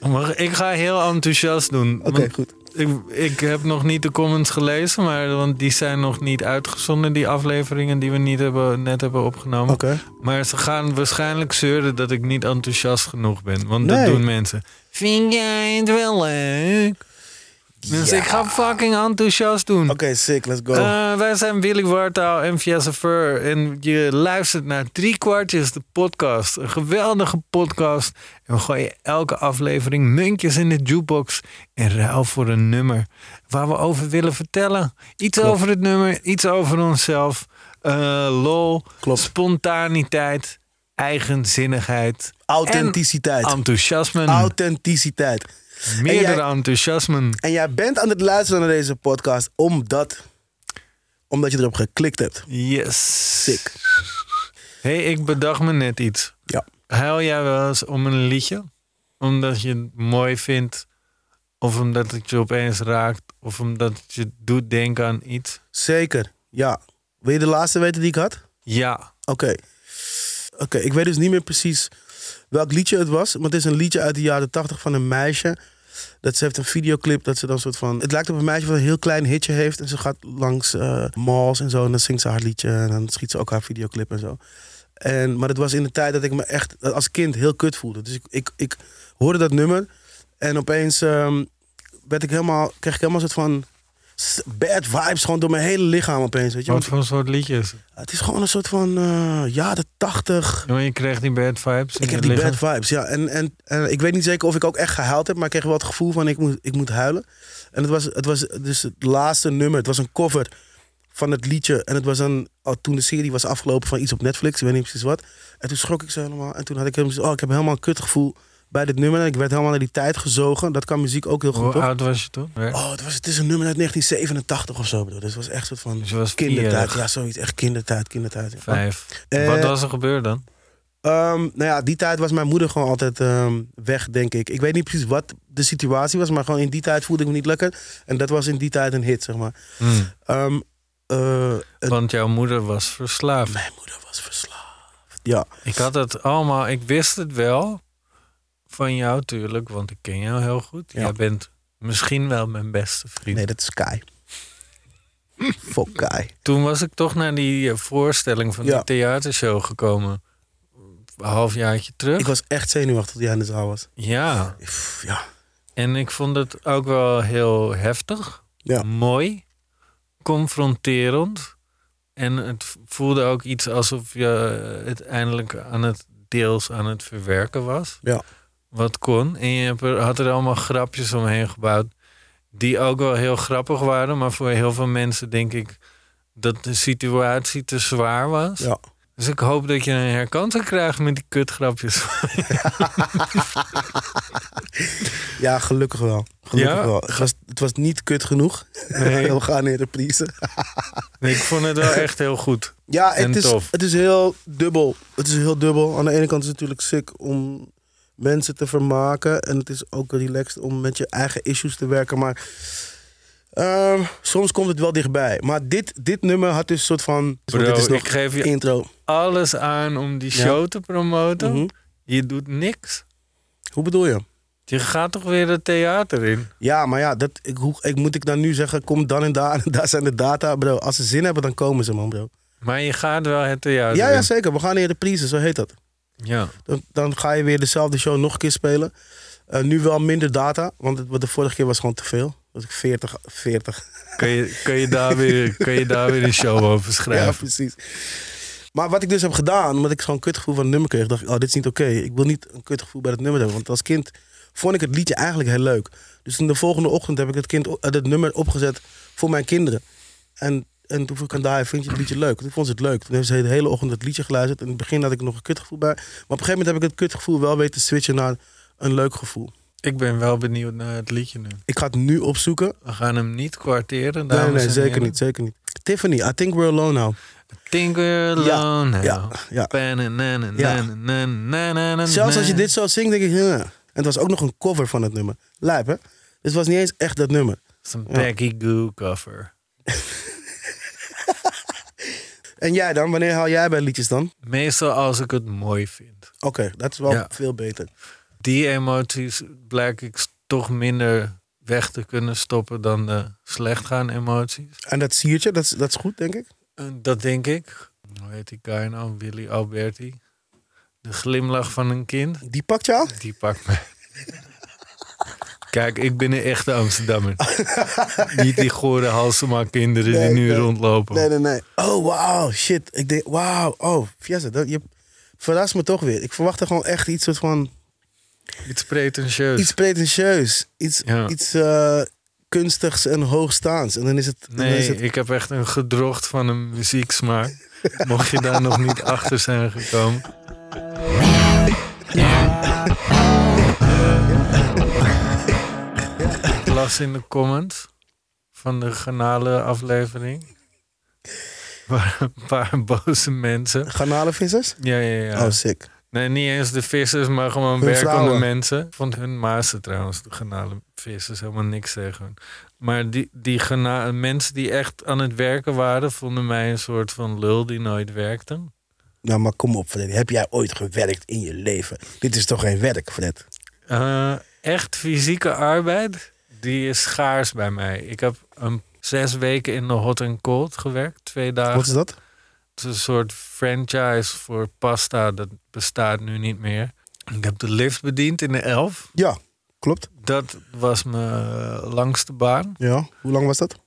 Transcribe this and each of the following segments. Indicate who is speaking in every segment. Speaker 1: Maar ik ga heel enthousiast doen.
Speaker 2: Oké,
Speaker 1: want
Speaker 2: goed.
Speaker 1: Ik, ik heb nog niet de comments gelezen, maar, want die zijn nog niet uitgezonden, die afleveringen die we niet hebben, net hebben opgenomen.
Speaker 2: Oké.
Speaker 1: Maar ze gaan waarschijnlijk zeuren dat ik niet enthousiast genoeg ben. Want dat
Speaker 2: Nee.
Speaker 1: doen mensen. Vind jij het wel leuk? Dus
Speaker 2: Ja.
Speaker 1: ik ga fucking enthousiast doen.
Speaker 2: Oké, sick, let's go.
Speaker 1: Eh, wij zijn Willy Wartaal en Fiesse Fur. En je luistert naar Drie Kwartjes, de podcast. Een geweldige podcast. En we gooien elke aflevering muntjes in de jukebox. In ruil voor een nummer waar we over willen vertellen. Iets over het nummer, iets over onszelf. Eh, lol,
Speaker 2: Klopt.
Speaker 1: spontaniteit, eigenzinnigheid.
Speaker 2: Authenticiteit.
Speaker 1: en Enthousiasme.
Speaker 2: Authenticiteit.
Speaker 1: Meerdere
Speaker 2: en, jij,
Speaker 1: enthousiasmen.
Speaker 2: en jij bent aan het luisteren naar deze podcast omdat, omdat je erop geklikt hebt.
Speaker 1: Yes.
Speaker 2: Sick.
Speaker 1: hey, ik bedacht me net iets.
Speaker 2: Ja.
Speaker 1: Huil jij wel eens om een liedje? Omdat je het mooi vindt? Of omdat het je opeens raakt? Of omdat het je doet denken aan iets?
Speaker 2: Zeker, ja. Wil je de laatste weten die ik had?
Speaker 1: Ja.
Speaker 2: Oké. Oké, ik weet dus niet meer precies welk liedje het was. Maar het is een liedje uit de jaren 80 van een meisje. Dat ze heeft een videoclip dat ze dan soort van... Het lijkt op een meisje wat een heel klein hitje heeft. En ze gaat langs eh, malls en zo. En dan zingt ze haar liedje. En dan schiet ze ook haar videoclip en zo. En, maar het was in de tijd dat ik me echt als kind heel kut voelde. Dus ik, ik, ik hoorde dat nummer. En opeens ehm, werd ik helemaal, kreeg ik helemaal een soort van... s- Bad vibes gewoon door mijn hele lichaam opeens. Weet je?
Speaker 1: Wat
Speaker 2: Want
Speaker 1: voor soort liedje is het?
Speaker 2: het is gewoon een soort van eh jaren 80.
Speaker 1: Ja, maar Je kreeg die bad vibes. in
Speaker 2: Ik heb
Speaker 1: je
Speaker 2: die
Speaker 1: lichaam.
Speaker 2: bad vibes, ja. En, en, en ik weet niet zeker of ik ook echt gehuild heb, maar ik kreeg wel het gevoel van ik moet, ik moet huilen. En het was, het was dus het laatste nummer, het was een cover van het liedje. En het was dan, al toen de serie was afgelopen van iets op Netflix, ik weet niet precies wat. En toen schrok ik zo helemaal. En toen had ik helemaal zoiets, oh, ik heb helemaal een kut gevoel bij dit nummer. En ik werd helemaal naar die tijd gezogen. Dat kan muziek ook heel goed,
Speaker 1: Hoe
Speaker 2: toch?
Speaker 1: oud was je toen? Ja.
Speaker 2: Oh, het, was, het is een nummer uit 1987 of zo, bedoel. Dus het was echt een soort van
Speaker 1: Dus je was
Speaker 2: kindertijd.
Speaker 1: vierig.
Speaker 2: Ja, zoiets, echt kindertijd, kindertijd. ja.
Speaker 1: Vijf.
Speaker 2: Eh,
Speaker 1: Wat was er gebeurd dan?
Speaker 2: Ehm, nou ja, die tijd was mijn moeder gewoon altijd ehm, weg, denk ik. Ik weet niet precies wat de situatie was, maar gewoon in die tijd voelde ik me niet lekker. En dat was in die tijd een hit, zeg maar.
Speaker 1: Hmm.
Speaker 2: Ehm, eh, het-
Speaker 1: Want jouw moeder was verslaafd.
Speaker 2: mijn moeder was verslaafd. Ja,
Speaker 1: Ik had het allemaal, ik wist het wel van jou tuurlijk, want ik ken jou heel goed.
Speaker 2: Ja.
Speaker 1: Jij bent misschien wel mijn beste vriend.
Speaker 2: nee, dat is Kai. Fuck Kai.
Speaker 1: Toen was ik toch naar die eh, voorstelling van
Speaker 2: Ja.
Speaker 1: die theatershow gekomen. Een halfjaartje terug.
Speaker 2: Ik was echt zenuwachtig toen jij in de zaal was.
Speaker 1: Ja,
Speaker 2: Pff, Ja,
Speaker 1: en ik vond het ook wel heel heftig,
Speaker 2: ja.
Speaker 1: mooi, confronterend. En het voelde ook iets alsof je eh, het eindelijk aan het deels aan het verwerken was.
Speaker 2: ja.
Speaker 1: wat kon. En je hebt er- had er allemaal grapjes omheen gebouwd. Die ook wel heel grappig waren. Maar voor heel veel mensen denk ik dat de situatie te zwaar was.
Speaker 2: ja.
Speaker 1: Dus ik hoop dat je een herkansing krijgt met die kutgrapjes.
Speaker 2: Ja, gelukkig wel. Gelukkig
Speaker 1: Ja?
Speaker 2: wel. Het was, het was niet kut genoeg.
Speaker 1: Nee.
Speaker 2: We gaan in reprise.
Speaker 1: Nee, ik vond het wel echt heel goed.
Speaker 2: Ja,
Speaker 1: En
Speaker 2: het is,
Speaker 1: tof.
Speaker 2: het is heel dubbel. Het is heel dubbel. Aan de ene kant is het natuurlijk sick om mensen te vermaken. En het is ook relaxed om met je eigen issues te werken. Maar Ehm, soms komt het wel dichtbij. Maar dit, dit nummer had dus een soort van...
Speaker 1: Bro,
Speaker 2: dit is nog
Speaker 1: ik geef je-
Speaker 2: intro.
Speaker 1: Alles aan om die show te promoten.
Speaker 2: Mhm.
Speaker 1: Je doet niks.
Speaker 2: Hoe bedoel je?
Speaker 1: Je gaat toch weer het theater in?
Speaker 2: Ja, maar ja, dat, ik, hoe, ik, moet ik dan nu zeggen, kom dan en daar. En daar zijn de data, bro. Als ze zin hebben, dan komen ze, man, bro.
Speaker 1: Maar je gaat wel het theater
Speaker 2: Ja,
Speaker 1: in.
Speaker 2: ja, zeker. We gaan naar de prijzen, zo heet dat.
Speaker 1: Ja.
Speaker 2: Dan, dan ga je weer dezelfde show nog een keer spelen. Eh, nu wel minder data, want het, wat de vorige keer was gewoon te veel. Dat ik 40, 40.
Speaker 1: Kun je, kun, je daar weer, kun je daar weer een show over
Speaker 2: Ja,
Speaker 1: schrijven?
Speaker 2: precies. Maar wat ik dus heb gedaan, omdat ik zo'n kutgevoel van het nummer kreeg, dacht ik, oh, dit is niet oké. Ik wil niet een kutgevoel bij het nummer hebben. Want als kind vond ik het liedje eigenlijk heel leuk. Dus in de volgende ochtend heb ik het, kind, eh, dat nummer opgezet voor mijn kinderen. En, en toen vroeg ik aan Dai, vind je het liedje leuk? Toen vond ze het leuk. Toen heeft ze de hele ochtend het liedje geluisterd. In het begin had ik nog een kutgevoel bij. Maar op een gegeven moment heb ik het kutgevoel wel weten te switchen naar een leuk gevoel.
Speaker 1: Ik ben wel benieuwd naar het liedje nu.
Speaker 2: Ik ga het nu opzoeken.
Speaker 1: We gaan hem niet kwarteren.
Speaker 2: Nee,
Speaker 1: dames
Speaker 2: nee,
Speaker 1: en
Speaker 2: zeker
Speaker 1: heren.
Speaker 2: niet, zeker niet. Tiffany, I think we're alone now.
Speaker 1: Tinker
Speaker 2: Ja,
Speaker 1: alone
Speaker 2: ja, ja. Ja.
Speaker 1: ja.
Speaker 2: Zelfs als je dit zo zingt, denk ik... "Huh." En het was ook nog een cover van het nummer. Lijp, hè? Dus het was niet eens echt dat nummer.
Speaker 1: is een Peggy Goo cover.
Speaker 2: En jij dan? Wanneer haal jij bij liedjes dan?
Speaker 1: Meestal als ik het mooi vind.
Speaker 2: Oké, dat is wel
Speaker 1: Ja.
Speaker 2: veel beter.
Speaker 1: Die emoties blijk ik s- toch minder weg te kunnen stoppen dan de slecht gaan emoties.
Speaker 2: En dat siertje, dat is, dat is goed, denk ik.
Speaker 1: En Dat denk ik. Hoe heet die guy nou? Willy Alberti. De glimlach van een kind,
Speaker 2: Die pakt je aan?
Speaker 1: die pakt me. Kijk, ik ben een echte Amsterdammer. Niet die gore halsema kinderen
Speaker 2: Nee,
Speaker 1: die nu
Speaker 2: nee.
Speaker 1: rondlopen.
Speaker 2: Nee, nee, nee. Oh, wauw, shit. Ik denk, wauw. Oh, Fiesta, dat, je verrast me toch weer. Ik verwachtte gewoon echt iets soort van...
Speaker 1: Iets pretentieus.
Speaker 2: Iets pretentieus. Iets,
Speaker 1: Ja.
Speaker 2: iets eh, kunstigs en hoogstaans. En dan is het... dan
Speaker 1: Nee,
Speaker 2: is het
Speaker 1: ik heb echt een gedrocht van een muzieksmaak. Mocht je daar nog niet achter zijn gekomen. Ik las in de comments van de granale aflevering. Waar een paar boze mensen.
Speaker 2: garnalenvissers?
Speaker 1: Ja, ja, ja.
Speaker 2: Oh, sick.
Speaker 1: Nee, niet eens de vissers, maar gewoon
Speaker 2: Hun
Speaker 1: werkende
Speaker 2: vrouwen.
Speaker 1: mensen. Vond hun maasen trouwens, de genale vissers, helemaal niks tegen. Maar die, die gena- mensen die echt aan het werken waren, vonden mij een soort van lul die nooit werkte.
Speaker 2: Nou, maar kom op, Fred. Heb jij ooit gewerkt in je leven? Dit is toch geen werk, Fred?
Speaker 1: Eh, echt fysieke arbeid, die is schaars bij mij. Ik heb een, zes weken in de hot and cold gewerkt, twee dagen.
Speaker 2: Wat is dat?
Speaker 1: Het is een soort franchise voor pasta, dat bestaat nu niet meer. Ik heb de lift bediend in de elf.
Speaker 2: Ja, klopt.
Speaker 1: Dat was mijn langste baan.
Speaker 2: Ja. Hoe lang was dat?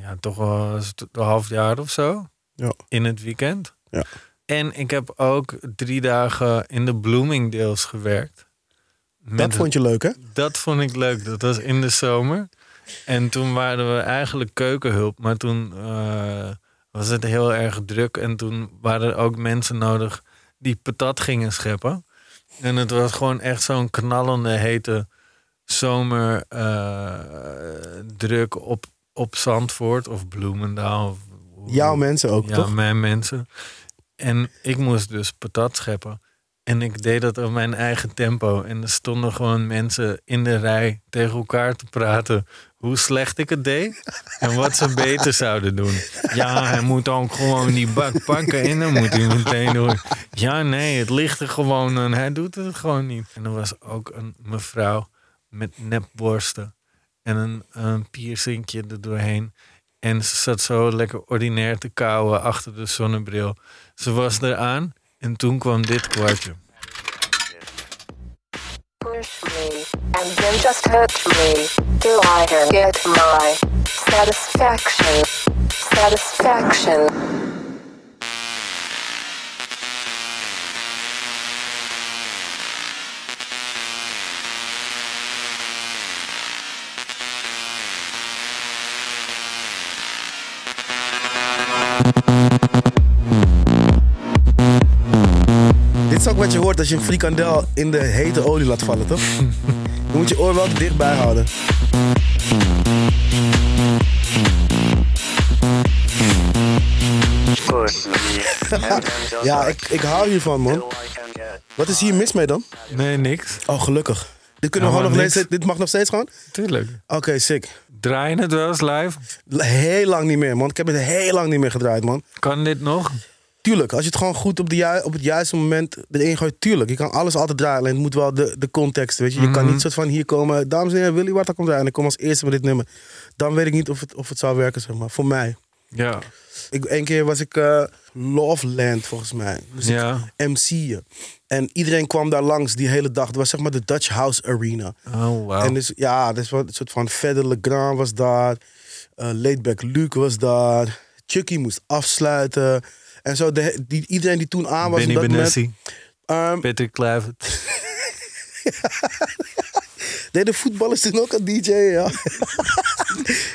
Speaker 1: Ja, toch wel eens t- een half jaar of zo.
Speaker 2: Ja.
Speaker 1: In het weekend.
Speaker 2: Ja.
Speaker 1: En ik heb ook drie dagen in de Bloomingdale's gewerkt.
Speaker 2: Dat vond je leuk, hè?
Speaker 1: dat vond ik leuk. Dat was in de zomer. En toen waren we eigenlijk keukenhulp. Maar toen eh, was het heel erg druk. En toen waren er ook mensen nodig die patat gingen scheppen. En het was gewoon echt zo'n knallende, hete zomer eh, druk op, op Zandvoort of Bloemendaal. Of, hoe-
Speaker 2: Jouw mensen ook,
Speaker 1: ja,
Speaker 2: toch?
Speaker 1: mijn mensen. En ik moest dus patat scheppen. En ik deed dat op mijn eigen tempo. En er stonden gewoon mensen in de rij tegen elkaar te praten. Hoe slecht ik het deed en wat ze beter zouden doen. Ja, hij moet ook gewoon die bak pakken en dan moet hij meteen door. Ja, nee, het ligt er gewoon en hij doet het gewoon niet. En er was ook een mevrouw met nepborsten en een, een piercingje er doorheen. En ze zat zo lekker ordinair te kauwen achter de zonnebril. Ze was eraan en toen kwam dit kwartje.
Speaker 3: Push me, and then just hurt me, till I can get my satisfaction. Satisfaction.
Speaker 2: Dit is ook wat je hoort als je een frikandel in de hete olie laat vallen, toch? Dan moet je oor wel dichtbij houden.
Speaker 4: Push me. and then just
Speaker 2: Ja,
Speaker 4: like
Speaker 2: ik, ik hou hiervan, man.
Speaker 4: till I can get
Speaker 2: Wat is hier mis mee dan?
Speaker 1: Nee, niks.
Speaker 2: Oh, gelukkig. Dit, kunnen we gewoon nog
Speaker 1: Ja, Nou, maar
Speaker 2: steeds,
Speaker 1: niks.
Speaker 2: dit mag nog steeds gewoon?
Speaker 1: Tuurlijk.
Speaker 2: Oké, sick.
Speaker 1: Draai je het wel eens live?
Speaker 2: L- Heel lang niet meer, man. Ik heb het heel lang niet meer gedraaid, man.
Speaker 1: Kan dit nog?
Speaker 2: Tuurlijk, als je het gewoon goed op, de ju- op het juiste moment erin gooit, tuurlijk. Je kan alles altijd draaien, alleen het moet wel de, de context, weet je. Je kan niet soort van hier komen, dames en heren, Willy Warta komt draaien en ik kom als eerste met dit nummer. Dan weet ik niet of het, of het zou werken, zeg maar, voor mij.
Speaker 1: Ja.
Speaker 2: Ik, één keer was ik eh Loveland, volgens mij. Dus ik
Speaker 1: Ja.
Speaker 2: MC'en. En iedereen kwam daar langs die hele dag. Het was zeg maar de Dutch House Arena.
Speaker 1: Oh, wauw.
Speaker 2: En dus, ja, dus wat, een soort van Fedder Legrand was daar. eh Laidback Luke was daar. Chucky moest afsluiten. En zo, de, die, iedereen die toen aan was.
Speaker 1: Benny
Speaker 2: op dat moment,
Speaker 1: Benessi,
Speaker 2: ehm,
Speaker 1: Peter Kluivert.
Speaker 2: Deden voetballers toen ook een DJ, ja.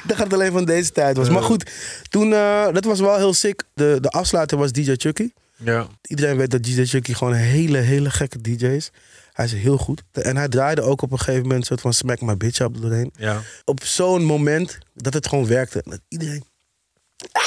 Speaker 2: dat gaat alleen van deze tijd was. Maar goed, toen, eh, dat was wel heel sick. De, de afsluiter was DJ Chucky.
Speaker 1: Ja.
Speaker 2: Iedereen weet dat DJ Chucky gewoon een hele, hele gekke DJ is. Hij is heel goed. En hij draaide ook op een gegeven moment een soort van smack my bitch up doorheen.
Speaker 1: Ja.
Speaker 2: Op zo'n moment dat het gewoon werkte. Dat iedereen... Ah,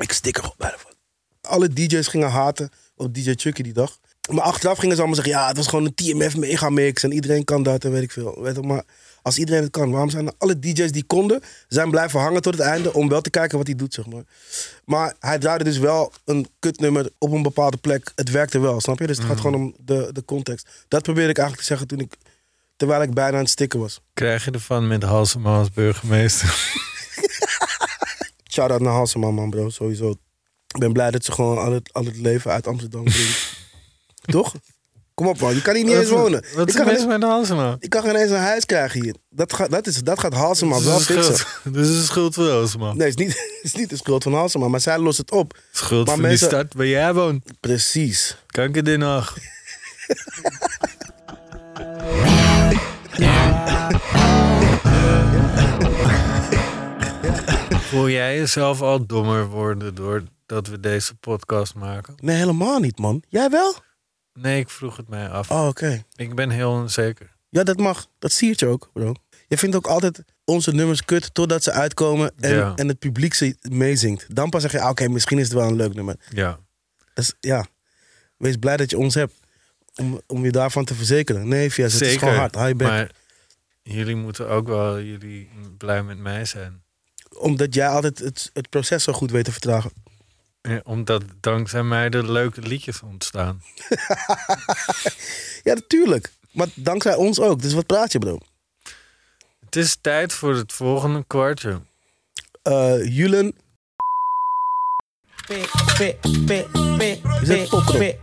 Speaker 2: ik stik er op bij de van. Alle DJ's gingen haten op DJ Chucky die dag. Maar achteraf gingen ze allemaal zeggen... Ja, het was gewoon een TMF megamix en iedereen kan dat en weet ik veel. Weet je, maar als iedereen het kan, waarom zijn er alle DJ's die konden... zijn blijven hangen tot het einde om wel te kijken wat hij doet, zeg maar. Maar hij draaide dus wel een kutnummer op een bepaalde plek. Het werkte wel, snap je? Dus het gaat gewoon om de, de context. Dat probeerde ik eigenlijk te zeggen toen ik, terwijl ik bijna aan het stikken was.
Speaker 1: Krijg je ervan met Halsema als burgemeester?
Speaker 2: Shout-out naar Halsema, man, bro. Sowieso. Ik ben blij dat ze gewoon al het, al het leven uit Amsterdam brengt. Toch? Kom op, man. Je kan hier niet eens wonen.
Speaker 1: Wat
Speaker 2: Ik
Speaker 1: is er
Speaker 2: kan,
Speaker 1: mis
Speaker 2: geen,
Speaker 1: met Halsema?
Speaker 2: ik kan geen eens een huis krijgen hier. Dat, gaat, dat, is, dat gaat Halsema
Speaker 1: Dit is
Speaker 2: wel
Speaker 1: de
Speaker 2: fixen.
Speaker 1: schuld. Dit is de schuld van Halsema.
Speaker 2: Nee, het is, niet, het is niet de schuld van Halsema, maar zij lost het op.
Speaker 1: Schuld
Speaker 2: Maar
Speaker 1: van
Speaker 2: mensen-
Speaker 1: die stad waar jij woont.
Speaker 2: Precies.
Speaker 1: Kanker dit nog. Voel jij jezelf al dommer worden doordat we deze podcast maken?
Speaker 2: Nee, helemaal niet, man. Jij wel?
Speaker 1: Nee, ik vroeg het mij af.
Speaker 2: Oh, oké.
Speaker 1: Ik ben heel onzeker.
Speaker 2: Ja, dat mag. Dat siert je ook, bro. Je vindt ook altijd onze nummers kut totdat ze uitkomen en,
Speaker 1: Ja.
Speaker 2: en het publiek ze meezingt. Dan pas zeg je, ah, oké, misschien is het wel een leuk nummer.
Speaker 1: Ja.
Speaker 2: Dat is, Dus, ja, wees blij dat je ons hebt om, om je daarvan te verzekeren. Nee, Fias,
Speaker 1: Dus
Speaker 2: het is gewoon hard. Hou je bek.
Speaker 1: maar jullie moeten ook wel jullie blij met mij zijn.
Speaker 2: Omdat jij altijd het, het proces zo goed weet te vertragen.
Speaker 1: Eh, Omdat dankzij mij de leuke liedjes ontstaan.
Speaker 2: Ja, natuurlijk. Maar dankzij ons ook. Dus wat praat je, bro?
Speaker 1: Het is tijd voor het volgende kwartje.
Speaker 2: Eh, Julen,
Speaker 5: Eh,
Speaker 2: is het popcorn?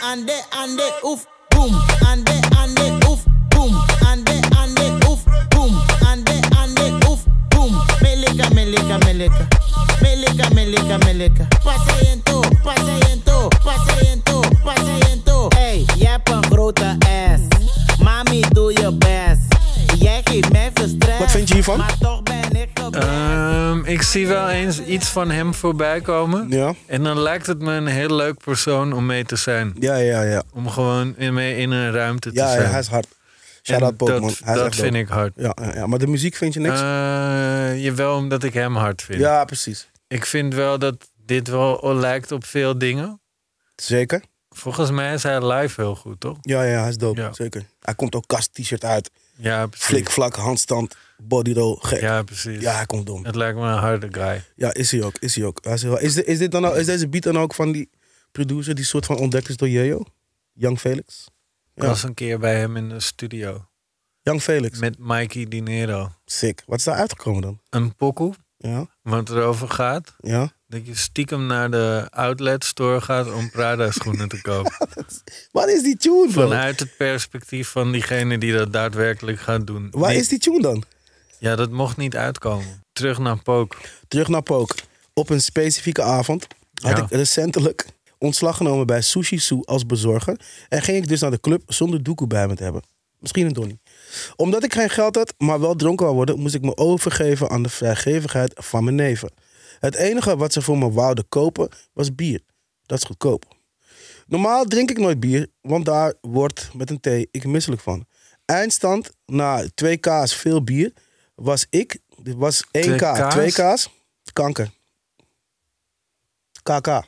Speaker 5: Ande, ande, oef, boom. Ande, ande, oef, boom. Ande, ande, oef, boom. Ande, ande, oef, boom. Melica, melica, melica. Melica, melica, melica. Pase en toe, pase en toe, pase en toe, pase en toe. Hey, jij hebt een grote ass. Mami, doe je best. Jij geeft mij veel stress.
Speaker 2: Wat vind je hiervan?
Speaker 5: Maar toch ben ik geblest.
Speaker 1: Ehm, ik zie wel eens iets van hem voorbij komen.
Speaker 2: Ja.
Speaker 1: En dan lijkt het me een heel leuk persoon om mee te zijn.
Speaker 2: Ja, ja, ja.
Speaker 1: Om gewoon in, mee in een ruimte te
Speaker 2: Ja, ja,
Speaker 1: zijn.
Speaker 2: hij is hard. Shout-out
Speaker 1: En dat
Speaker 2: Pokémon. Hij is
Speaker 1: dat
Speaker 2: echt
Speaker 1: vind
Speaker 2: dope.
Speaker 1: ik Ah, hard.
Speaker 2: Ja, ja, ja, maar de muziek vind je niks?
Speaker 1: Eh, jawel, omdat ik hem hard vind.
Speaker 2: ja, precies.
Speaker 1: Ik vind wel dat dit wel lijkt op veel dingen.
Speaker 2: Zeker.
Speaker 1: Volgens mij is hij live heel goed, toch?
Speaker 2: Ja, ja, hij is dope.
Speaker 1: Ja.
Speaker 2: Zeker. Hij komt ook kast-t-shirt uit.
Speaker 1: Ja, precies.
Speaker 2: Flik, vlak, handstand, body roll, gek. Ja,
Speaker 1: Ja, precies.
Speaker 2: hij komt dom.
Speaker 1: Het lijkt me een harde guy.
Speaker 2: Ja, is hij ook. Is hij ook. Hij is, heel- is, de- is, dit dan ook, is deze beat dan ook van die producer die soort van ontdekt is door Jejo? Young Felix?
Speaker 1: Ik was een keer bij hem in de studio.
Speaker 2: Young Felix.
Speaker 1: Met Mikey Di Nero.
Speaker 2: Sick. Wat is daar uitgekomen dan?
Speaker 1: Een pokoe,
Speaker 2: Ja,
Speaker 1: wat erover gaat.
Speaker 2: ja.
Speaker 1: Dat je stiekem naar de outlet store gaat om Prada schoenen te kopen.
Speaker 2: Waar is die tune, bro?
Speaker 1: Vanuit het perspectief van diegene die dat daadwerkelijk gaat doen.
Speaker 2: Waar
Speaker 1: Die-
Speaker 2: is die tune dan?
Speaker 1: Ja, dat mocht niet uitkomen. Terug naar Pook.
Speaker 2: Terug naar Pook. Op een specifieke avond had
Speaker 1: Ja.
Speaker 2: ik recentelijk ontslag genomen bij Sushi Sue als bezorger. En ging ik dus naar de club zonder doekoe bij me te hebben. Misschien een donnie. Omdat ik geen geld had, maar wel dronken wou worden... moest ik me overgeven aan de vrijgevigheid van mijn neven. Het enige wat ze voor me wouden kopen was bier. Dat is goedkoop. Normaal drink ik nooit bier, want daar wordt met een thee ik misselijk van. Eindstand na twee kaas veel bier was ik, dit was één
Speaker 1: Twee
Speaker 2: k,
Speaker 1: kaas?
Speaker 2: twee kaas, kanker. KK.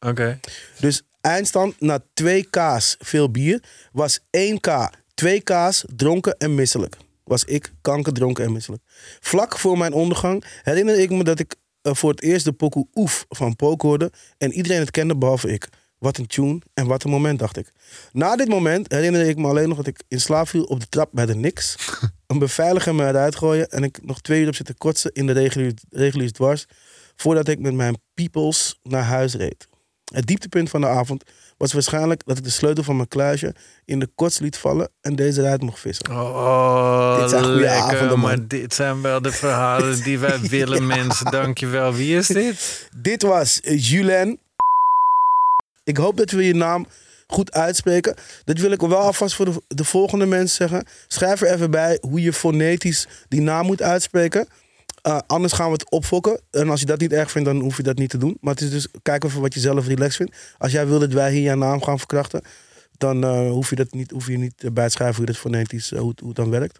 Speaker 1: Oké.
Speaker 2: Dus Eindstand na 2 K's veel bier was 1 K, 2 K's dronken en misselijk. Was ik kankerdronken en misselijk. Vlak voor mijn ondergang herinnerde ik me dat ik eh, voor het eerst de pokoe Oef van Pook hoorde en iedereen het kende behalve ik. Wat een tune en wat een moment, dacht ik. Na dit moment herinnerde ik me alleen nog dat ik in slaap viel op de trap bij de Nix. Een beveiliger me eruit gooien en ik nog twee uur op zitten kotsen in de regulier- reguliers dwars. Voordat ik met mijn peoples naar huis reed. Het dieptepunt van de avond was waarschijnlijk dat ik de sleutel van mijn kluisje in de kots liet vallen en deze eruit mocht vissen.
Speaker 1: Oh, oh,
Speaker 2: Dit zijn goede
Speaker 1: lekker,
Speaker 2: avonden, man.
Speaker 1: maar dit zijn wel de verhalen die wij willen, mensen. Dankjewel. Wie is dit?
Speaker 2: Dit was eh, Julen. Ik hoop dat we je naam goed uitspreken. Dat wil ik wel alvast voor de, de volgende mensen zeggen. Schrijf er even bij hoe je fonetisch die naam moet uitspreken. Eh, anders gaan we het opfokken. En als je dat niet erg vindt, dan hoef je dat niet te doen. Maar het is dus kijk even wat je zelf relaxed vindt. Als jij wil dat wij hier jouw naam gaan verkrachten, dan eh, hoef je dat niet, hoef je niet bij te schrijven hoe je dat fonetisch, eh, hoe, het- hoe het dan werkt.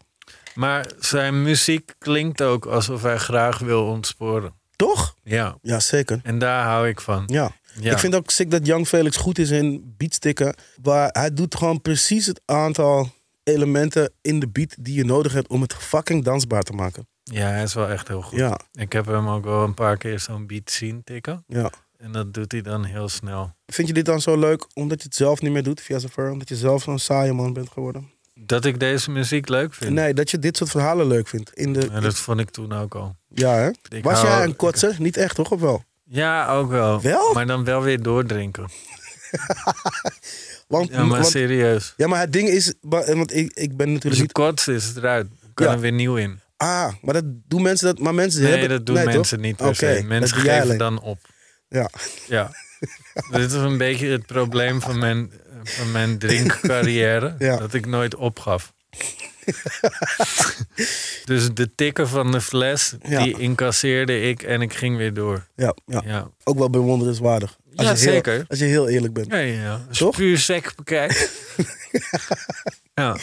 Speaker 1: Maar zijn muziek klinkt ook alsof hij graag wil ontsporen.
Speaker 2: Toch?
Speaker 1: Ja,
Speaker 2: Ja, zeker.
Speaker 1: en daar hou ik van.
Speaker 2: Ja.
Speaker 1: Ja.
Speaker 2: Ik vind ook sick dat Young Felix goed is in beatstikken. Maar hij doet gewoon precies het aantal elementen in de beat die je nodig hebt om het fucking dansbaar te maken.
Speaker 1: Ja, hij is wel echt heel goed.
Speaker 2: Ja,
Speaker 1: Ik heb hem ook wel een paar keer zo'n beat zien tikken.
Speaker 2: ja.
Speaker 1: En dat doet hij dan heel snel.
Speaker 2: Vind je dit dan zo leuk omdat je het zelf niet meer doet via Zafar? Omdat je zelf zo'n saaie man bent geworden?
Speaker 1: Dat ik deze muziek leuk vind.
Speaker 2: Nee, dat je dit soort verhalen leuk vindt. In de,
Speaker 1: Ja, dat vond ik toen ook al.
Speaker 2: ja, hè?
Speaker 1: Ik
Speaker 2: Was
Speaker 1: hou-
Speaker 2: jij een
Speaker 1: ik-
Speaker 2: kotser? Niet echt, toch? Of wel?
Speaker 1: Ja, ook wel.
Speaker 2: Wel?
Speaker 1: Maar dan wel weer doordrinken.
Speaker 2: Want,
Speaker 1: Ja, maar
Speaker 2: want-
Speaker 1: serieus.
Speaker 2: ja, maar het ding is... wa- Want ik, ik ben
Speaker 1: Dus
Speaker 2: natuurlijk
Speaker 1: het
Speaker 2: niet...
Speaker 1: kots is het eruit. Dan kan
Speaker 2: Ja.
Speaker 1: er weer nieuw in.
Speaker 2: Ah, maar dat doen mensen... Dat, maar mensen
Speaker 1: Nee,
Speaker 2: hebben...
Speaker 1: dat doen
Speaker 2: toch?
Speaker 1: mensen niet per
Speaker 2: Oké,
Speaker 1: se.
Speaker 2: dat
Speaker 1: Mensen
Speaker 2: doe jij
Speaker 1: geven
Speaker 2: alleen.
Speaker 1: dan op.
Speaker 2: Ja.
Speaker 1: Ja. Dit is een beetje het probleem van mijn, van mijn drinkcarrière.
Speaker 2: Ja.
Speaker 1: Dat ik nooit opgaf. dus de tikken van de fles,
Speaker 2: Ja.
Speaker 1: die incasseerde ik en ik ging weer door.
Speaker 2: Ja, ja.
Speaker 1: Ja,
Speaker 2: ook wel bewonderenswaardig.
Speaker 1: Ja,
Speaker 2: je heel-
Speaker 1: zeker.
Speaker 2: Als je heel eerlijk bent.
Speaker 1: ja, ja, ja. Als je
Speaker 2: Toch?
Speaker 1: puur sec bekijkt. ja.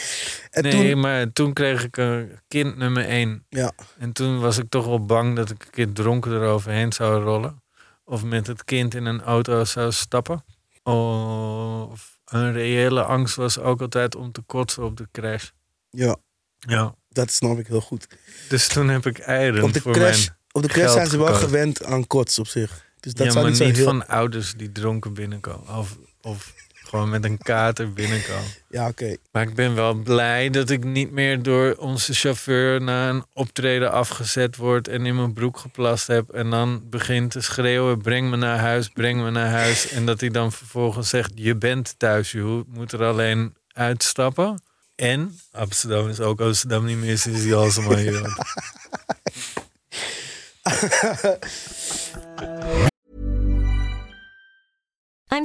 Speaker 2: En
Speaker 1: nee,
Speaker 2: toen,
Speaker 1: maar toen kreeg ik een kind nummer één.
Speaker 2: ja,
Speaker 1: En toen was ik toch wel bang dat ik een keer dronken eroverheen zou rollen. Of met het kind in een auto zou stappen. Of een reële angst was ook altijd om te kotsen op de crash.
Speaker 2: ja,
Speaker 1: Ja.
Speaker 2: dat snap ik heel goed.
Speaker 1: Dus toen heb ik eieren
Speaker 2: Op de
Speaker 1: voor
Speaker 2: crash,
Speaker 1: mijn...
Speaker 2: op de crash
Speaker 1: geld
Speaker 2: zijn ze wel
Speaker 1: gekocht.
Speaker 2: gewend aan kots op zich. Dus dat
Speaker 1: ja,
Speaker 2: zou
Speaker 1: maar
Speaker 2: niet zo
Speaker 1: niet
Speaker 2: heel...
Speaker 1: van ouders die dronken binnenkomen. Of, of gewoon met een kater binnenkomen.
Speaker 2: Ja, oké.
Speaker 1: Maar ik ben wel blij dat ik niet meer door onze chauffeur na een optreden afgezet word en in mijn broek geplast heb. En dan begint te schreeuwen: breng me naar huis, breng me naar huis. En dat hij dan vervolgens zegt: je bent thuis, je ho- moet er alleen uitstappen. En Amsterdam is ook Amsterdam niet meer sinds die alsmaar hier.
Speaker 6: I'm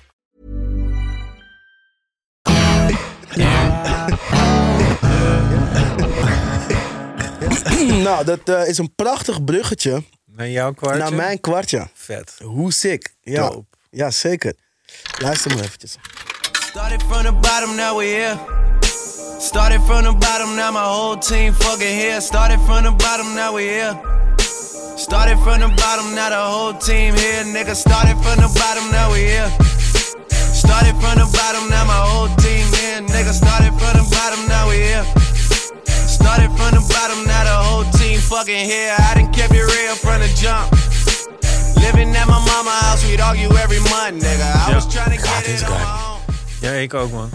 Speaker 2: nou, dat eh, is een prachtig bruggetje
Speaker 1: Naar jouw kwartje?
Speaker 2: naar mijn kwartje.
Speaker 1: Vet.
Speaker 2: Hoe sick. Ja,
Speaker 1: Dope.
Speaker 2: ja zeker. Luister maar eventjes.
Speaker 5: Started from the bottom, now we here. Started from the bottom, now my whole team fucking here. Started from the bottom, now we here. Started from the bottom, now the whole team here, nigga. Started from the bottom, now we here. Started from the bottom, now my whole team here, nigga. Started from the bottom, now we here. Started from the bottom, now the whole team fucking here. I done kept it real from the jump. Living at my mama house, we'd argue every month, nigga. I was trying to get it on my own.
Speaker 1: Ja, ik ook, man.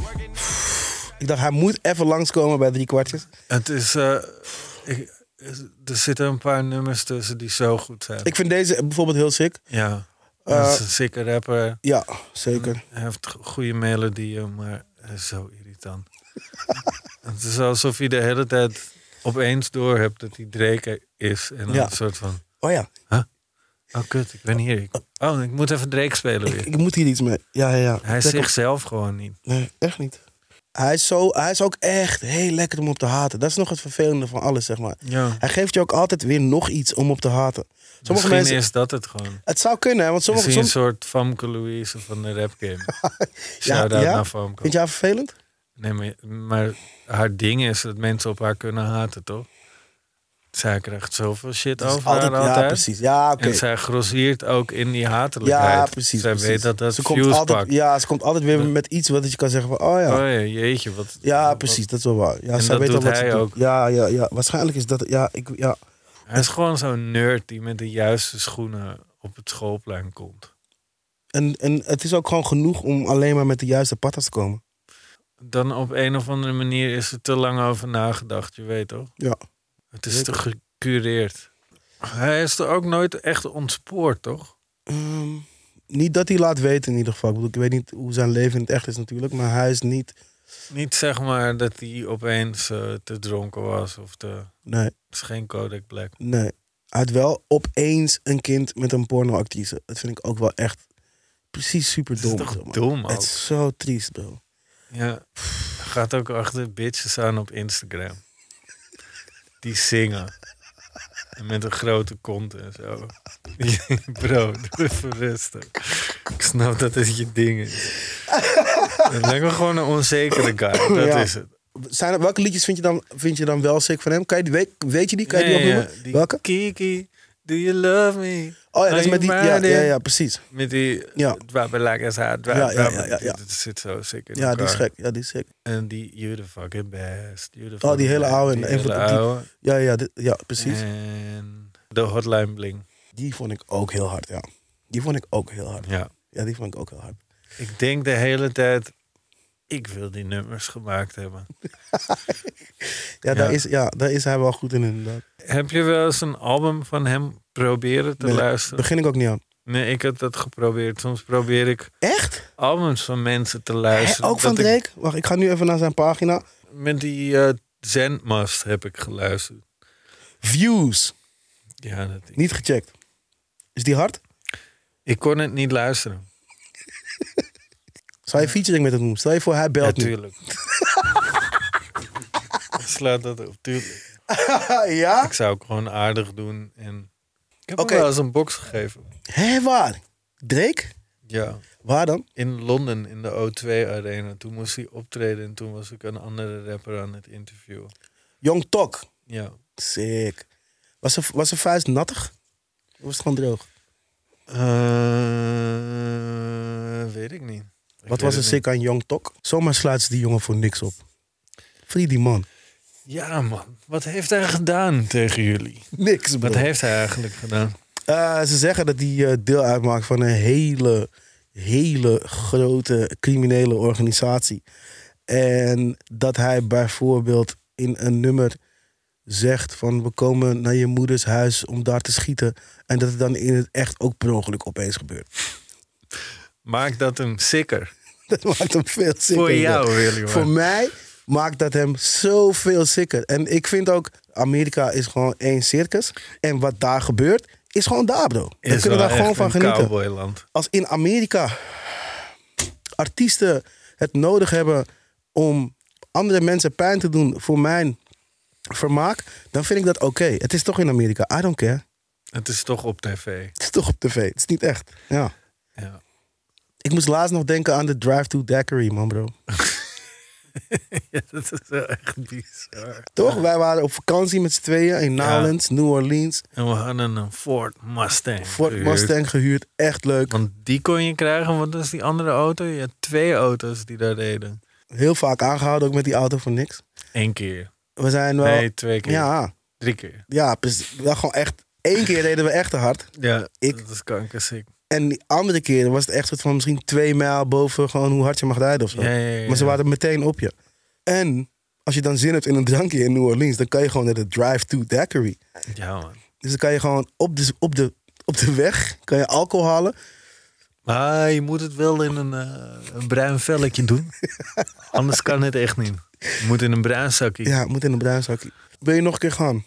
Speaker 2: Ik dacht, hij moet even langskomen bij drie kwartjes.
Speaker 1: Het is... eh, ik- er zitten een paar nummers tussen die zo goed zijn.
Speaker 2: Ik vind deze bijvoorbeeld heel sick.
Speaker 1: Ja.
Speaker 2: Eh,
Speaker 1: dat is een sikke rapper.
Speaker 2: Ja, zeker.
Speaker 1: Hij heeft go- goede melodieën, maar hij is eh, zo irritant. het is alsof je de hele tijd opeens door hebt dat hij Drake is. En dan
Speaker 2: Ja.
Speaker 1: een soort van...
Speaker 2: Oh ja,
Speaker 1: Oh, kut, ik ben hier. Ik- oh, ik moet even Drake spelen
Speaker 2: ik,
Speaker 1: weer.
Speaker 2: ik moet hier iets mee. Ja, ja, ja.
Speaker 1: Hij is
Speaker 2: Trek hem.
Speaker 1: zichzelf gewoon niet.
Speaker 2: Nee, echt niet. Hij is, zo, hij is ook echt heel lekker om op te haten. Dat is nog het vervelende van alles, zeg maar.
Speaker 1: Ja.
Speaker 2: Hij geeft je ook altijd weer nog iets om op te haten. Sommige
Speaker 1: Misschien
Speaker 2: mensen...
Speaker 1: is dat het gewoon.
Speaker 2: Het zou kunnen, hè, want
Speaker 1: Is
Speaker 2: sommige...
Speaker 1: hij een
Speaker 2: sommige
Speaker 1: soort Famke Louise van de rap game?
Speaker 2: Ja,
Speaker 1: Shout-out
Speaker 2: ja.
Speaker 1: naar Famke.
Speaker 2: Vind je haar vervelend?
Speaker 1: Nee, maar, maar haar ding is dat mensen op haar kunnen haten, toch? Zij krijgt zoveel shit
Speaker 2: Dat is
Speaker 1: over haar altijd.
Speaker 2: Ja, precies. Ja, oké.
Speaker 1: En zij grossiert ook in die hatelijkheid.
Speaker 2: Ja, precies.
Speaker 1: Zij
Speaker 2: precies.
Speaker 1: weet dat dat
Speaker 2: ze
Speaker 1: views
Speaker 2: komt altijd,
Speaker 1: pakt.
Speaker 2: Ja, ze komt altijd weer met iets wat je kan zeggen van... Oh ja,
Speaker 1: Oh ja, jeetje. Wat,
Speaker 2: ja
Speaker 1: wat-
Speaker 2: precies, dat is wel waar. Ja,
Speaker 1: En
Speaker 2: zij
Speaker 1: dat
Speaker 2: weet
Speaker 1: doet
Speaker 2: al wat ze
Speaker 1: hij
Speaker 2: doet.
Speaker 1: ook.
Speaker 2: Ja, ja, ja. Waarschijnlijk is dat... Ja, ik... Ja.
Speaker 1: Hij is gewoon zo'n nerd die met de juiste schoenen op het schoolplein komt.
Speaker 2: En, en het is ook gewoon genoeg om alleen maar met de juiste patas te komen.
Speaker 1: Dan op een of andere manier is er te lang over nagedacht, je weet toch?
Speaker 2: Ja.
Speaker 1: Het is te gecureerd. Hij is er ook nooit echt ontspoord, toch?
Speaker 2: Ehm, niet dat hij laat weten in ieder geval. Ik, bedoel, ik weet niet hoe zijn leven in het echt is natuurlijk. Maar hij is niet...
Speaker 1: Niet zeg maar dat hij opeens eh, te dronken was of te...
Speaker 2: Nee,
Speaker 1: Het is geen Kodak Black.
Speaker 2: nee. Hij had wel opeens een kind met een pornoactrice. Dat vind ik ook wel echt precies super
Speaker 1: Het is
Speaker 2: dom.
Speaker 1: toch
Speaker 2: zeg maar.
Speaker 1: dom ook?
Speaker 2: Het is zo triest, bro.
Speaker 1: Ja, Hij gaat ook achter bitches aan op Instagram. Die zingen. En met een grote kont en zo. Bro, doe even rustig. Ik snap dat het je ding is. Het lijkt me gewoon een onzekere guy. Dat
Speaker 2: Ja.
Speaker 1: is het.
Speaker 2: Zijn er, welke liedjes vind je, dan, vind je dan wel sick van hem? Kan je, die- weet, weet je die? Kan je die
Speaker 1: Nee, ja,
Speaker 2: opnoemen? Welke?
Speaker 1: Kiki, do you love me?
Speaker 2: Oh ja, dat is
Speaker 1: Are
Speaker 2: met die...
Speaker 1: you
Speaker 2: Ja,
Speaker 1: riding?
Speaker 2: ja, ja, precies.
Speaker 1: Met die
Speaker 2: Ja.
Speaker 1: drop it like it's hot, drop,
Speaker 2: Ja, ja,
Speaker 1: drop
Speaker 2: ja,
Speaker 1: it.
Speaker 2: ja, ja.
Speaker 1: Dat zit zo sick in
Speaker 2: Ja, die is
Speaker 1: elkaar.
Speaker 2: gek. Ja, die is gek.
Speaker 1: En die You the fucking best. You the
Speaker 2: Oh, die
Speaker 1: fucking
Speaker 2: hele
Speaker 1: best.
Speaker 2: oude en
Speaker 1: Die
Speaker 2: een van
Speaker 1: hele
Speaker 2: de- die-
Speaker 1: oude.
Speaker 2: Ja, ja, dit- ja precies.
Speaker 1: En de hotline bling.
Speaker 2: Die vond ik ook heel hard, ja. Die vond ik ook heel hard.
Speaker 1: Ja.
Speaker 2: Ja, die vond ik ook heel hard.
Speaker 1: Ik denk de hele tijd, ik wil die nummers gemaakt hebben.
Speaker 2: Ja, daar,
Speaker 1: Ja.
Speaker 2: Is, ja, daar is hij wel goed in inderdaad.
Speaker 1: Heb je wel eens een album van hem proberen te
Speaker 2: Nee,
Speaker 1: luisteren?
Speaker 2: Begin ik ook niet aan.
Speaker 1: Nee, ik heb dat geprobeerd. Soms probeer ik
Speaker 2: Echt?
Speaker 1: albums van mensen te
Speaker 2: Hè,
Speaker 1: luisteren.
Speaker 2: ook van
Speaker 1: dat ik-
Speaker 2: Drake? Wacht, ik ga nu even naar zijn pagina.
Speaker 1: met die eh Zenmast heb ik geluisterd.
Speaker 2: Views.
Speaker 1: Ja, dat, ik,
Speaker 2: Niet gecheckt. Is die hard?
Speaker 1: ik kon het niet luisteren.
Speaker 2: Zou je featuring met hem doen? Stel je voor, hij belt nu.
Speaker 1: Natuurlijk. Slaat dat op, tuurlijk.
Speaker 2: Ah, ja?
Speaker 1: Ik zou ook gewoon aardig doen. En... Ik heb
Speaker 2: Oké.
Speaker 1: hem wel eens een box gegeven.
Speaker 2: Hé, waar? Drake?
Speaker 1: Ja,
Speaker 2: Waar dan?
Speaker 1: in Londen in de O2 Arena. Toen moest hij optreden en toen was ik een andere rapper aan het interviewen.
Speaker 2: Young Tok.
Speaker 1: Ja.
Speaker 2: Sick. Was zijn was zijn vuist nattig? Of was het gewoon droog?
Speaker 1: Eh, weet ik niet. Ik
Speaker 2: Wat
Speaker 1: weet
Speaker 2: was er
Speaker 1: het
Speaker 2: sick aan Young Tok? Zomaar sluit ze die jongen voor niks op. Free die man.
Speaker 1: niet. Ja man, wat heeft hij gedaan tegen jullie?
Speaker 2: Niks, bro.
Speaker 1: Wat heeft hij eigenlijk gedaan?
Speaker 2: Eh, ze zeggen dat hij eh, deel uitmaakt van een hele, hele grote criminele organisatie. En dat hij bijvoorbeeld in een nummer zegt van we komen naar je moeders huis om daar te schieten. En dat het dan in het echt ook per ongeluk opeens gebeurt.
Speaker 1: Maak dat hem sicker.
Speaker 2: Dat maakt hem veel sicker.
Speaker 1: Voor
Speaker 2: bro.
Speaker 1: jou, Willy.
Speaker 2: Voor mij maakt dat hem zoveel sicker. En ik vind ook, Amerika is gewoon één circus. En wat daar gebeurt, is gewoon daar bro. We kunnen daar gewoon van genieten.
Speaker 1: Cowboyland.
Speaker 2: als in Amerika artiesten het nodig hebben om andere mensen pijn te doen voor mijn vermaak, dan vind ik dat oké. Het is toch in Amerika. I don't care.
Speaker 1: Het is toch op tv.
Speaker 2: Het is toch op tv. Het is niet echt. Ja.
Speaker 1: Ja.
Speaker 2: Ik moest laatst nog denken aan de Drive to Daiquiri, man, bro.
Speaker 1: ja, dat is wel echt bizar.
Speaker 2: Toch? Wij waren op vakantie met z'n tweeën in Nowlands, New Orleans.
Speaker 1: En we hadden een Ford Mustang.
Speaker 2: Ford
Speaker 1: gehuurd.
Speaker 2: Mustang gehuurd. Echt leuk.
Speaker 1: Want die kon je krijgen, want dat is die andere auto. Je had twee auto's die daar deden.
Speaker 2: Heel vaak aangehouden, ook met die auto voor niks.
Speaker 1: Eén keer.
Speaker 2: We zijn wel...
Speaker 1: Nee, twee keer.
Speaker 2: ja,
Speaker 1: Drie keer.
Speaker 2: ja, precies. Wel gewoon echt... Eén keer reden we echt te hard.
Speaker 1: Ja,
Speaker 2: Ik-
Speaker 1: dat is kankerziek.
Speaker 2: En die andere keren was het echt soort van misschien twee mijl boven gewoon hoe hard je mag rijden of zo.
Speaker 1: Ja, ja, ja,
Speaker 2: Maar ze
Speaker 1: ja.
Speaker 2: waren meteen op je. En als je dan zin hebt in een drankje in New Orleans, dan kan je gewoon naar de drive-to daiquiri.
Speaker 1: Ja, man.
Speaker 2: Dus dan kan je gewoon op de, op de, op de weg kan je alcohol halen.
Speaker 1: Maar je moet het wel in een, eh, een bruin velletje doen. Anders kan het echt niet. Je moet in een bruin zakje.
Speaker 2: Ja, het moet in een bruinzakje. Wil je nog een keer gaan?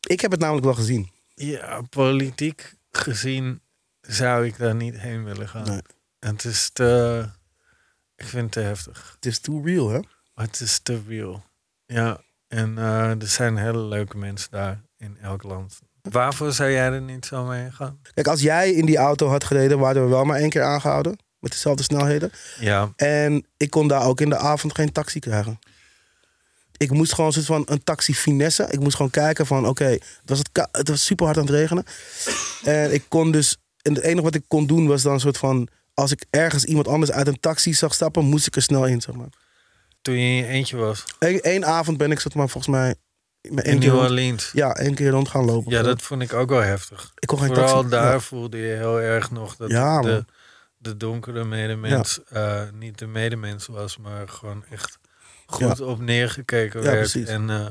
Speaker 2: Ik heb het namelijk wel gezien.
Speaker 1: Ja, politiek gezien zou ik daar niet heen willen gaan.
Speaker 2: Nee.
Speaker 1: Het is te... Ik vind het te heftig.
Speaker 2: Het is too real, hè?
Speaker 1: Maar het is te real. Ja, en eh, er zijn hele leuke mensen daar in elk land. Waarvoor zou jij er niet zo mee gaan?
Speaker 2: Kijk, als jij in die auto had gereden, waren we wel maar één keer aangehouden. Met dezelfde snelheden.
Speaker 1: Ja,
Speaker 2: En ik kon daar ook in de avond geen taxi krijgen. Ik moest gewoon een soort van een taxi finesse. Ik moest gewoon kijken van, oké, het was, het, ka- het was super hard aan het regenen. En ik kon dus, en het enige wat ik kon doen was dan een soort van... Als ik ergens iemand anders uit een taxi zag stappen, moest ik er snel in, zeg maar.
Speaker 1: toen je in je eentje was.
Speaker 2: Eén één avond ben ik, zeg maar, volgens mij... met één
Speaker 1: In
Speaker 2: keer
Speaker 1: New
Speaker 2: rond-
Speaker 1: Orleans.
Speaker 2: Ja, één keer rond gaan lopen.
Speaker 1: Ja, dat vond ik ook wel heftig.
Speaker 2: Ik kon geen
Speaker 1: Vooral
Speaker 2: taxi-
Speaker 1: daar
Speaker 2: ja.
Speaker 1: voelde je heel erg nog dat
Speaker 2: Ja,
Speaker 1: de,
Speaker 2: man.
Speaker 1: de donkere medemens eh, niet de medemens was, maar gewoon echt goed op neergekeken
Speaker 2: Ja,
Speaker 1: werd.
Speaker 2: precies.
Speaker 1: En eh,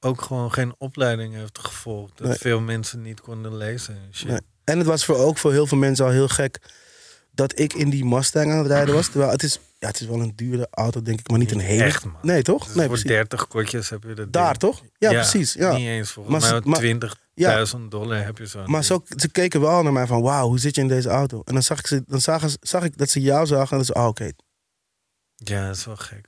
Speaker 1: ook gewoon geen opleiding heeft gevolgd. Dat
Speaker 2: Nee.
Speaker 1: veel mensen niet konden lezen en shit.
Speaker 2: Nee. En het was voor, ook voor heel veel mensen al heel gek dat ik in die Mustang aan het rijden was. Terwijl het is, ja, het is wel een dure auto, denk ik, maar niet een hele.
Speaker 1: Echt, man.
Speaker 2: Nee, toch?
Speaker 1: Dus
Speaker 2: nee,
Speaker 1: voor
Speaker 2: precies.
Speaker 1: 30 kwartjes heb je dat
Speaker 2: Daar,
Speaker 1: ding.
Speaker 2: toch? Ja, precies. Ja.
Speaker 1: Niet eens volgens
Speaker 2: Maar
Speaker 1: mij
Speaker 2: ze- maar-
Speaker 1: 20.000 dollar heb je zo.
Speaker 2: Maar zo, ze keken wel naar mij van, wauw, hoe zit je in deze auto? En dan zag ik, ze, dan zagen, ze- zag ik dat ze jou zagen en dan ze, ah, oké,
Speaker 1: Ja, dat is wel gek.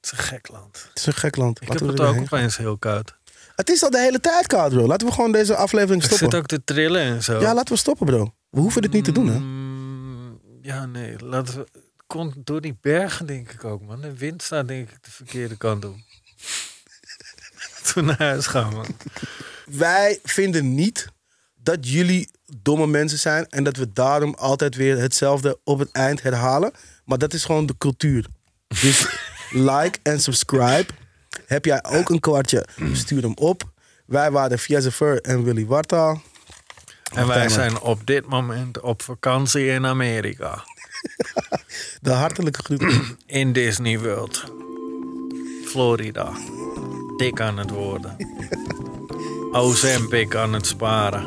Speaker 1: Het is een gek land.
Speaker 2: het is een gek land.
Speaker 1: Ik heb
Speaker 2: Laten we
Speaker 1: het
Speaker 2: er
Speaker 1: ook
Speaker 2: heen gaan.
Speaker 1: opeens heel koud.
Speaker 2: Het is al de hele tijd koud, bro. Laten we gewoon deze aflevering
Speaker 1: Ik zit
Speaker 2: stoppen.
Speaker 1: ook te trillen en zo.
Speaker 2: Ja, laten we stoppen, bro. We hoeven dit niet te doen, hè?
Speaker 1: Mm, Ja, nee. Laten we... Het komt door die bergen, denk ik ook, man. De wind staat, denk ik, de verkeerde kant op. Toen naar huis gaan, man.
Speaker 2: Wij vinden niet dat jullie domme mensen zijn en dat we daarom altijd weer hetzelfde op het eind herhalen. Maar dat is gewoon de cultuur. Dus like en subscribe. Heb jij ook een kwartje? Stuur hem op. Wij waren Fiazza Fur en Willy Wartaal.
Speaker 1: En wij
Speaker 2: Martijn,
Speaker 1: zijn op dit moment op vakantie in Amerika.
Speaker 2: De hartelijke groeten.
Speaker 1: In Disney World. Florida. Dik aan het worden. Ozempic aan het sparen.